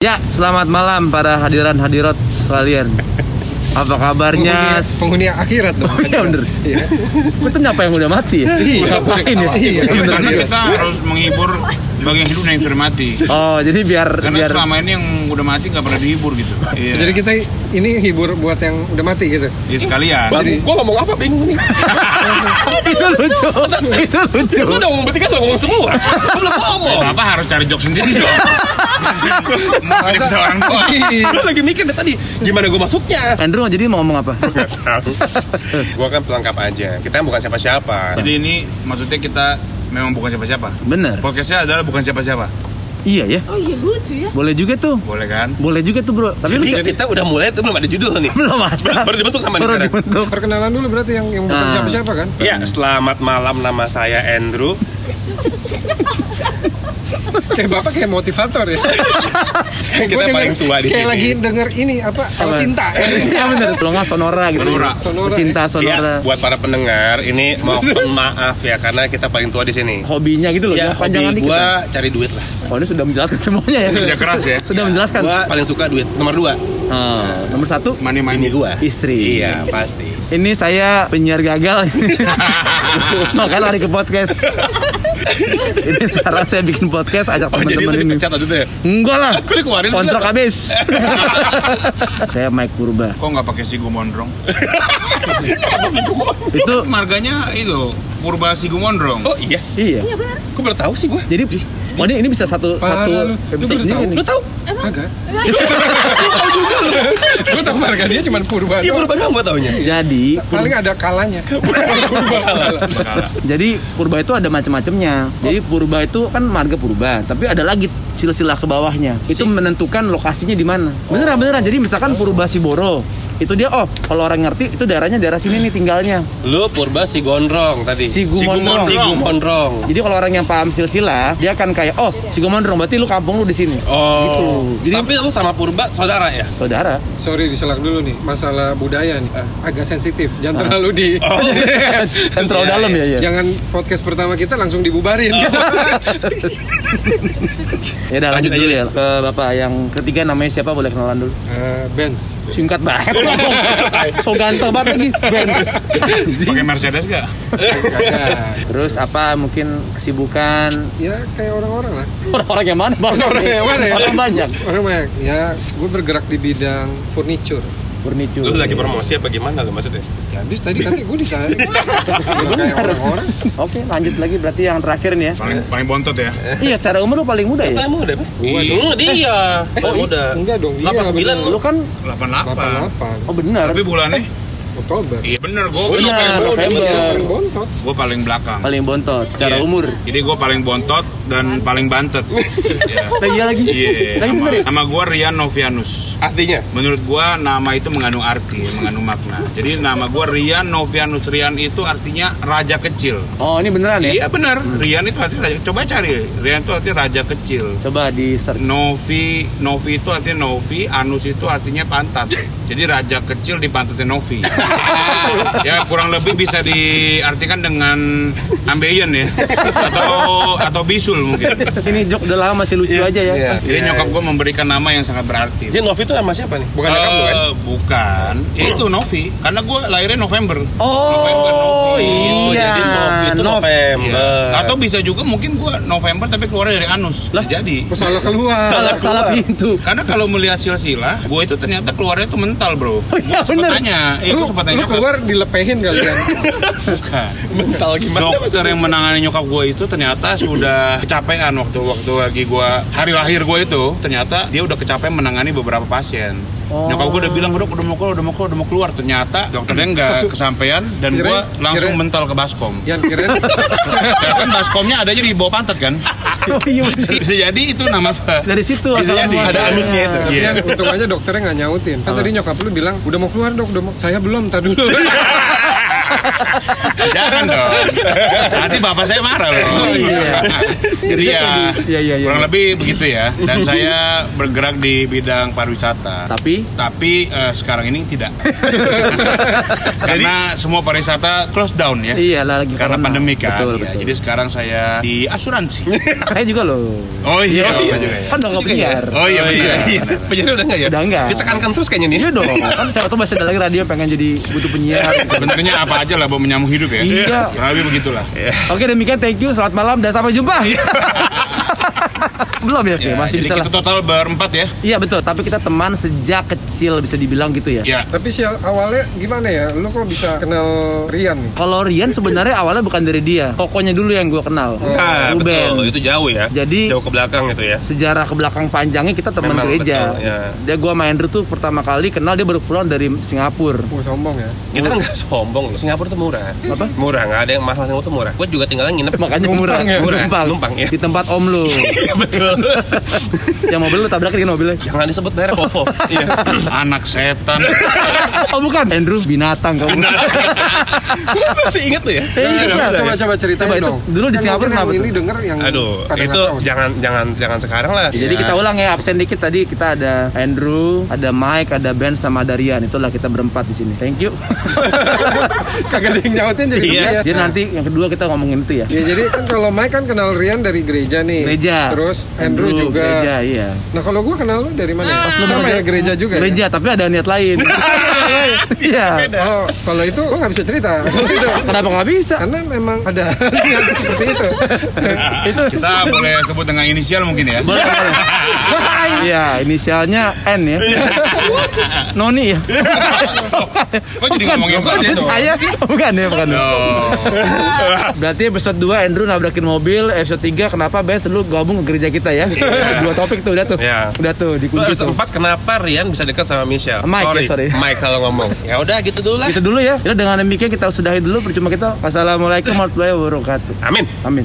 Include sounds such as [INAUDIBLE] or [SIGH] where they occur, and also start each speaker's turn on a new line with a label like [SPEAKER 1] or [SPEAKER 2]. [SPEAKER 1] Ya, selamat malam para hadiran hadirat sekalian. Apa kabarnya?
[SPEAKER 2] Penghuni- penghuni akhirat dong.
[SPEAKER 1] Oh, iya bener.
[SPEAKER 2] Iya.
[SPEAKER 1] Kita nyapa yang udah mati ya?
[SPEAKER 2] Iya.
[SPEAKER 1] Ngapain ya?
[SPEAKER 2] Iya.
[SPEAKER 1] Bener
[SPEAKER 3] Karena
[SPEAKER 1] juga.
[SPEAKER 3] kita harus menghibur bagian hidup dan yang sudah mati.
[SPEAKER 1] Oh, jadi biar
[SPEAKER 3] Karena
[SPEAKER 1] biar
[SPEAKER 3] selama ini yang udah mati nggak pernah dihibur gitu. Iya.
[SPEAKER 2] Jadi kita ini hibur buat yang udah mati gitu.
[SPEAKER 3] Ya, sekalian.
[SPEAKER 4] Baru gua ngomong apa bingung nih.
[SPEAKER 1] itu lucu. Itu lucu.
[SPEAKER 4] Lu udah ngomong bertiga udah ngomong semua. Lu belum ngomong.
[SPEAKER 3] Bapak harus cari jok
[SPEAKER 2] [LAUGHS]
[SPEAKER 3] sendiri dong. Mau ada kita orang tua.
[SPEAKER 5] Iya.
[SPEAKER 4] Lu lagi mikir dari tadi gimana gua masuknya.
[SPEAKER 1] Andrew jadi mau ngomong apa?
[SPEAKER 4] gua kan pelengkap aja. Kita kan bukan siapa-siapa.
[SPEAKER 3] Jadi ini maksudnya kita memang bukan siapa-siapa.
[SPEAKER 1] Bener.
[SPEAKER 3] Podcastnya adalah bukan siapa-siapa.
[SPEAKER 1] Iya ya.
[SPEAKER 6] Oh iya lucu ya.
[SPEAKER 1] Boleh juga tuh.
[SPEAKER 3] Boleh kan?
[SPEAKER 1] Boleh juga tuh, Bro. Tapi lu
[SPEAKER 4] Jadi kita udah mulai tuh belum ada judul nih.
[SPEAKER 1] belum ada.
[SPEAKER 4] Baru dibentuk sama nih
[SPEAKER 1] Baru
[SPEAKER 4] sekarang.
[SPEAKER 1] dibentuk.
[SPEAKER 2] Perkenalan dulu berarti yang yang bukan
[SPEAKER 1] Ah.
[SPEAKER 2] siapa-siapa kan?
[SPEAKER 5] Iya.
[SPEAKER 4] Ya, selamat malam nama saya Andrew.
[SPEAKER 2] Kayak bapak kayak motivator [LAUGHS] ya.
[SPEAKER 4] kita
[SPEAKER 2] Gua
[SPEAKER 4] paling
[SPEAKER 2] denger-
[SPEAKER 4] tua di
[SPEAKER 2] Kayak lagi
[SPEAKER 4] sini.
[SPEAKER 2] denger ini apa? Alsinta.
[SPEAKER 1] Iya bener. Kalau nggak sonora gitu.
[SPEAKER 3] Sonora.
[SPEAKER 2] Sonora,
[SPEAKER 1] Cinta sonora.
[SPEAKER 4] Ya, buat para pendengar, ini [LAUGHS] mohon maaf ya karena kita paling tua di sini.
[SPEAKER 1] Hobinya gitu loh.
[SPEAKER 5] ya
[SPEAKER 4] Iya,
[SPEAKER 1] Jangan-
[SPEAKER 5] hobi
[SPEAKER 1] jangan dikit.
[SPEAKER 5] gua cari duit lah Iya.
[SPEAKER 1] Oh, ini sudah menjelaskan semuanya ya.
[SPEAKER 3] Kerja keras ya.
[SPEAKER 4] Iya.
[SPEAKER 1] Sudah menjelaskan.
[SPEAKER 5] gua paling suka duit nomor dua
[SPEAKER 1] Ah, nomor satu
[SPEAKER 3] Mani
[SPEAKER 5] ini
[SPEAKER 3] mani.
[SPEAKER 5] gua
[SPEAKER 1] istri.
[SPEAKER 5] iya pasti
[SPEAKER 1] Ini saya penyiar
[SPEAKER 4] [LAUGHS]
[SPEAKER 1] gagal. Makanya lari ke podcast. ini sekarang saya bikin podcast ajak
[SPEAKER 4] Oh, jadi lu
[SPEAKER 1] teman-teman ini.
[SPEAKER 4] dipecat waktu itu ya?
[SPEAKER 1] Enggak lah.
[SPEAKER 4] Aku dikeluarin.
[SPEAKER 1] Kontrak
[SPEAKER 4] [LAUGHS]
[SPEAKER 1] habis. saya Mike Purba.
[SPEAKER 3] Kok nggak pakai Sigu Mondrong?
[SPEAKER 1] Itu
[SPEAKER 3] Marganya itu Purba Sigu Mondrong.
[SPEAKER 4] Oh iya,
[SPEAKER 1] iya.
[SPEAKER 4] kok baru tahu sih gua?
[SPEAKER 1] Jadi oh ini, ini bisa satu
[SPEAKER 2] Parah
[SPEAKER 1] satu
[SPEAKER 2] lu. Lu
[SPEAKER 1] episode
[SPEAKER 2] baru
[SPEAKER 1] sendiri
[SPEAKER 2] tahu?
[SPEAKER 1] nih.
[SPEAKER 4] Lu tahu?
[SPEAKER 2] Kagak. [LAUGHS] Gue tau marga dia cuma purba.
[SPEAKER 5] iya baru
[SPEAKER 2] doang.
[SPEAKER 5] baru gua taunya
[SPEAKER 1] Jadi Pur-
[SPEAKER 2] Paling ada kalanya.
[SPEAKER 1] jadi Purba itu ada macam-macamnya. Jadi Purba itu kan marga Purba, tapi ada lagi silsilah ke bawahnya. Itu menentukan lokasinya di mana.
[SPEAKER 5] Oh.
[SPEAKER 1] Beneran beneran. Jadi misalkan Purba Siboro, itu dia oh kalau orang ngerti itu daerahnya daerah sini nih tinggalnya.
[SPEAKER 5] lu purba si gondrong tadi
[SPEAKER 1] Si Gumondrong.
[SPEAKER 5] si gondrong
[SPEAKER 1] Jadi kalau orang yang paham silsilah, dia akan kayak oh si Gumondrong berarti lu kampung lu di sini.
[SPEAKER 5] oh
[SPEAKER 1] Gitu. Jadi-
[SPEAKER 5] tapi lu sama purba saudara ya
[SPEAKER 1] Saudara.
[SPEAKER 2] Sorry diselak dulu nih masalah budaya nih. Ah, Agak sensitif. Jangan terlalu di.
[SPEAKER 1] Kan terlalu
[SPEAKER 5] Iya,
[SPEAKER 1] dalam ya ya.
[SPEAKER 2] [LAUGHS] Jangan podcast pertama kita langsung dibubarin. gitu.
[SPEAKER 1] Ya udah
[SPEAKER 5] Lanjut
[SPEAKER 1] lanjut
[SPEAKER 5] aja
[SPEAKER 1] dulu ya ke Bapak yang ketiga namanya siapa boleh kenalan dulu.
[SPEAKER 2] Eh, Benz.
[SPEAKER 1] Singkat banget
[SPEAKER 5] [LAUGHS]
[SPEAKER 1] ngomong. So ganteng banget lagi. Benz.
[SPEAKER 3] Pakai Mercedes nggak?
[SPEAKER 2] Kagak.
[SPEAKER 1] Terus apa mungkin kesibukan
[SPEAKER 2] ya kayak orang-orang lah
[SPEAKER 1] orang-orang yang mana bang?
[SPEAKER 2] Orang-orang yang mana ya?
[SPEAKER 1] Orang banyak.
[SPEAKER 2] orang banyak ya gue bergerak di bidang furniture
[SPEAKER 1] Bernicu.
[SPEAKER 4] Lu lagi promosi apa gimana lu maksudnya?
[SPEAKER 2] ya habis tadi kata gue ditarik Bergerak kayak orang-orang
[SPEAKER 1] [LAUGHS] Oke lanjut lagi berarti yang terakhir
[SPEAKER 3] [LAUGHS]
[SPEAKER 1] nih ya.
[SPEAKER 3] Paling paling bontot ya.
[SPEAKER 1] Iya secara umur lu paling muda ya.
[SPEAKER 5] kamu udah Iya, dia. Oh, udah.
[SPEAKER 2] Eh, enggak dong, Iya, dia
[SPEAKER 5] 89
[SPEAKER 1] Lu kan
[SPEAKER 2] 88
[SPEAKER 3] 88.
[SPEAKER 1] oh benar.
[SPEAKER 3] Tapi bulannya?
[SPEAKER 2] Oktober
[SPEAKER 3] Iya bener, gue
[SPEAKER 1] Benar November.
[SPEAKER 2] paling bontot
[SPEAKER 3] gue paling belakang.
[SPEAKER 1] Paling bontot secara
[SPEAKER 3] Iya.
[SPEAKER 1] umur.
[SPEAKER 3] Jadi gue paling bontot dan paling
[SPEAKER 1] [LAUGHS]
[SPEAKER 3] bantet. Iya.
[SPEAKER 1] Lagi Nah, lagi.
[SPEAKER 3] Iya.
[SPEAKER 1] Lagi bener ya?
[SPEAKER 3] Nama, nama gue Rian Novianus.
[SPEAKER 4] Artinya?
[SPEAKER 3] Menurut gue nama itu mengandung arti, mengandung makna. Jadi nama gue Rian Novianus Rian itu artinya raja kecil.
[SPEAKER 1] Oh ini beneran ya?
[SPEAKER 3] Iya benar. Rian itu artinya raja. Coba cari. Rian itu artinya raja kecil.
[SPEAKER 1] Coba di search.
[SPEAKER 3] Novi, Novi itu artinya Novi, Anus itu artinya pantat. Jadi raja kecil di pantatnya Novi. ya kurang lebih bisa diartikan dengan ambeien ya, atau atau bisul mungkin.
[SPEAKER 1] Ini jok udah lama masih lucu aja ya.
[SPEAKER 2] Iya.
[SPEAKER 3] Jadi nyokap gue memberikan nama yang sangat berarti.
[SPEAKER 4] Dia Novi itu sama siapa nih? Iya, Bukan
[SPEAKER 3] Eh,
[SPEAKER 4] nyokap lu kan?
[SPEAKER 3] Bukan. Ya, itu Novi. Karena gue lahirnya November. November,
[SPEAKER 1] Oh,
[SPEAKER 3] Novi.
[SPEAKER 5] Oh,
[SPEAKER 1] iya.
[SPEAKER 5] jadi Novi itu
[SPEAKER 1] Nov.
[SPEAKER 3] Iya.
[SPEAKER 5] November.
[SPEAKER 3] Atau bisa juga mungkin gue November tapi keluar dari anus. Bisa Jadi.
[SPEAKER 2] Kok salah keluar
[SPEAKER 1] salah salah
[SPEAKER 5] keluar.
[SPEAKER 1] pintu.
[SPEAKER 3] Karena kalau melihat silsilah, gue itu ternyata keluarnya itu mental bro.
[SPEAKER 1] iya,
[SPEAKER 3] Gua sempet
[SPEAKER 1] bener.
[SPEAKER 3] tanya, eh,
[SPEAKER 2] lu,
[SPEAKER 3] gue sempat tanya
[SPEAKER 2] lu
[SPEAKER 3] nyokap.
[SPEAKER 2] keluar dilepehin kali kan
[SPEAKER 3] [LAUGHS] Bukan.
[SPEAKER 4] Mental gimana?
[SPEAKER 3] Dokter yang menangani nyokap gue itu ternyata sudah kecapean waktu waktu lagi gue hari lahir gue itu ternyata dia udah kecapean menangani beberapa pasien.
[SPEAKER 1] Oh.
[SPEAKER 3] Nyokap gue udah bilang dok udah mau keluar udah mau keluar udah mau keluar ternyata dokternya nggak kesampaian dan gue
[SPEAKER 2] Kirain- kirain-
[SPEAKER 3] langsung mental ke
[SPEAKER 1] [LAUGHS]
[SPEAKER 3] baskom.
[SPEAKER 2] yang kirain
[SPEAKER 3] Ya kan baskomnya adanya di bawah
[SPEAKER 1] [LAUGHS]
[SPEAKER 3] pantat kan?
[SPEAKER 1] Oh, iya bener.
[SPEAKER 3] Bisa jadi itu nama
[SPEAKER 1] Dari situ
[SPEAKER 3] Bisa
[SPEAKER 1] asal
[SPEAKER 3] jadi.
[SPEAKER 1] muasalnya.
[SPEAKER 3] Ada anusnya itu.
[SPEAKER 2] tapi
[SPEAKER 3] Iya.
[SPEAKER 2] yang untung aja dokternya nggak nyautin kan tadi nyokap lu bilang udah mau keluar dok udah mau saya belum tadi dulu
[SPEAKER 3] Jangan
[SPEAKER 1] [LAUGHS]
[SPEAKER 3] dong. Nanti bapak saya marah loh.
[SPEAKER 1] iya.
[SPEAKER 3] Jadi ya,
[SPEAKER 1] Iya, iya, iya.
[SPEAKER 3] Oh, kurang lebih begitu ya.
[SPEAKER 1] [LAUGHS]
[SPEAKER 3] Dan saya bergerak di bidang pariwisata.
[SPEAKER 1] Tapi
[SPEAKER 3] Tapi eh, sekarang
[SPEAKER 1] [LAUGHS]
[SPEAKER 3] ini tidak. Karena semua pariwisata close down ya.
[SPEAKER 1] iya lah lagi
[SPEAKER 3] Karena
[SPEAKER 1] corona.
[SPEAKER 3] pandemi kan.
[SPEAKER 1] Betul,
[SPEAKER 3] Ya,
[SPEAKER 1] betul.
[SPEAKER 3] Jadi sekarang saya di
[SPEAKER 1] [LAUGHS]
[SPEAKER 3] asuransi.
[SPEAKER 1] Saya juga loh.
[SPEAKER 3] Oh iya,
[SPEAKER 1] Iya,
[SPEAKER 3] Bapak juga ya.
[SPEAKER 1] Kan udah nggak
[SPEAKER 5] Juga ya?
[SPEAKER 1] penyiar.
[SPEAKER 3] Oh iya, benar.
[SPEAKER 4] [LAUGHS]
[SPEAKER 3] benar.
[SPEAKER 5] Penyiar udah enggak ya?
[SPEAKER 1] Udah nggak.
[SPEAKER 5] Ditekankan terus kayaknya nih.
[SPEAKER 1] Iya dong. Kan coba tuh masih ada lagi radio pengen jadi butuh penyiar.
[SPEAKER 3] Sebenarnya apa aja lah buat menyambung hidup ya.
[SPEAKER 1] Iya.
[SPEAKER 3] Kurang lebih begitulah.
[SPEAKER 1] Oke demikian thank you selamat malam dan sampai jumpa. [LAUGHS] Belum ya, Oke,
[SPEAKER 3] Ya,
[SPEAKER 1] masih
[SPEAKER 3] jadi
[SPEAKER 1] bisa lah.
[SPEAKER 3] kita total berempat ya.
[SPEAKER 1] Iya betul, tapi kita teman sejak kecil bisa dibilang gitu ya.
[SPEAKER 3] Ya.
[SPEAKER 2] Tapi si awalnya gimana ya? Lu kok bisa kenal Rian nih?
[SPEAKER 1] Kalau Rian sebenarnya awalnya bukan dari dia, kokonya dulu yang gue kenal.
[SPEAKER 3] Iya. Nah,
[SPEAKER 4] Ah,
[SPEAKER 1] Nah, Ruben.
[SPEAKER 4] betul. Itu jauh ya.
[SPEAKER 1] Jadi-
[SPEAKER 4] jauh ke belakang gitu ya.
[SPEAKER 1] Sejarah ke belakang panjangnya kita teman
[SPEAKER 4] Memang,
[SPEAKER 1] gereja.
[SPEAKER 4] betul, ya.
[SPEAKER 1] Dia gua sama Andrew tuh pertama kali kenal dia baru pulang dari Singapura.
[SPEAKER 2] Oh, sombong ya.
[SPEAKER 4] Kita kan nggak sombong loh. Singapura tuh murah.
[SPEAKER 1] Apa?
[SPEAKER 4] Murah, nggak ada yang mahal Singapura tuh murah.
[SPEAKER 5] Gue juga tinggalnya nginep
[SPEAKER 4] [LAUGHS]
[SPEAKER 1] Makanya murah,
[SPEAKER 4] ya? Murah,
[SPEAKER 1] numpang,
[SPEAKER 4] numpang, ya.
[SPEAKER 1] di tempat om lu.
[SPEAKER 4] Iya, Betul.
[SPEAKER 1] yang mobil lu tabrakin kan mobilnya.
[SPEAKER 5] Jangan disebut merek
[SPEAKER 1] [LAUGHS]
[SPEAKER 5] OVO. Iya.
[SPEAKER 3] [CLEARS THROAT] Anak setan.
[SPEAKER 1] Oh bukan, Andrew binatang kamu.
[SPEAKER 5] Gua masih inget tuh ya.
[SPEAKER 1] Eh, iya,
[SPEAKER 2] Nah,
[SPEAKER 1] iya.
[SPEAKER 2] coba coba ceritain
[SPEAKER 1] Coba itu,
[SPEAKER 2] dong.
[SPEAKER 1] dulu di
[SPEAKER 2] Kan
[SPEAKER 1] Singapura
[SPEAKER 2] mungkin
[SPEAKER 1] kenapa
[SPEAKER 2] yang
[SPEAKER 1] tuh?
[SPEAKER 2] ini denger yang
[SPEAKER 4] Aduh,
[SPEAKER 2] pada
[SPEAKER 4] itu
[SPEAKER 2] nggak tahu.
[SPEAKER 4] jangan jangan jangan sekarang lah.
[SPEAKER 1] Jadi
[SPEAKER 4] Ya.
[SPEAKER 1] kita ulang ya absen dikit tadi kita ada Andrew, ada Mike, ada Ben sama Darian. Itulah kita berempat di sini. Thank
[SPEAKER 2] [LAUGHS]
[SPEAKER 1] you.
[SPEAKER 2] kagak ada yang nyautin [LAUGHS] jadi
[SPEAKER 4] Iya.
[SPEAKER 2] dia.
[SPEAKER 1] Jadi nanti yang kedua kita ngomongin itu ya.
[SPEAKER 2] Ya jadi kan kalau Mike kan kenal Rian dari gereja nih.
[SPEAKER 1] Gereja.
[SPEAKER 2] Iya. Terus Andrew, juga.
[SPEAKER 1] Gereja, iya.
[SPEAKER 2] Nah kalau gua kenal lu dari mana?
[SPEAKER 1] Pas lu
[SPEAKER 2] Sama
[SPEAKER 1] mau-
[SPEAKER 2] ya gereja juga. ya?
[SPEAKER 1] Gereja, tapi ada niat
[SPEAKER 2] [LAUGHS]
[SPEAKER 1] lain. Iya.
[SPEAKER 2] Oh, kalau itu gua nggak bisa
[SPEAKER 1] [LAUGHS]
[SPEAKER 2] cerita. Itu.
[SPEAKER 1] Kenapa nggak bisa?
[SPEAKER 2] Karena memang ada [LAUGHS] niat seperti itu.
[SPEAKER 3] Kita boleh sebut dengan inisial mungkin ya.
[SPEAKER 1] [LAUGHS] Iya, inisialnya N ya.
[SPEAKER 2] Iya.
[SPEAKER 1] Noni ya.
[SPEAKER 3] Kok jadi ngomongin gua
[SPEAKER 2] ya,
[SPEAKER 3] aja?
[SPEAKER 1] Saya bukan ya, bukan.
[SPEAKER 3] Oh.
[SPEAKER 1] Berarti episode 2 Andrew nabrakin mobil, episode 3 kenapa Bes lu gabung ke gereja kita ya. Dua topik tuh udah tuh.
[SPEAKER 4] Iya.
[SPEAKER 1] Udah tuh
[SPEAKER 5] Terus
[SPEAKER 1] dikunci
[SPEAKER 5] habis
[SPEAKER 1] tuh.
[SPEAKER 5] tempat kenapa Rian bisa dekat sama Michelle?
[SPEAKER 1] Mike,
[SPEAKER 5] sorry.
[SPEAKER 1] ya, sorry.
[SPEAKER 5] Mike kalau ngomong. Ya udah gitu dulu lah.
[SPEAKER 1] Itu dulu ya. Jadi dengan demikian kita sudahi dulu percuma kita. Wassalamualaikum warahmatullahi wabarakatuh.
[SPEAKER 4] Amin.
[SPEAKER 1] Amin.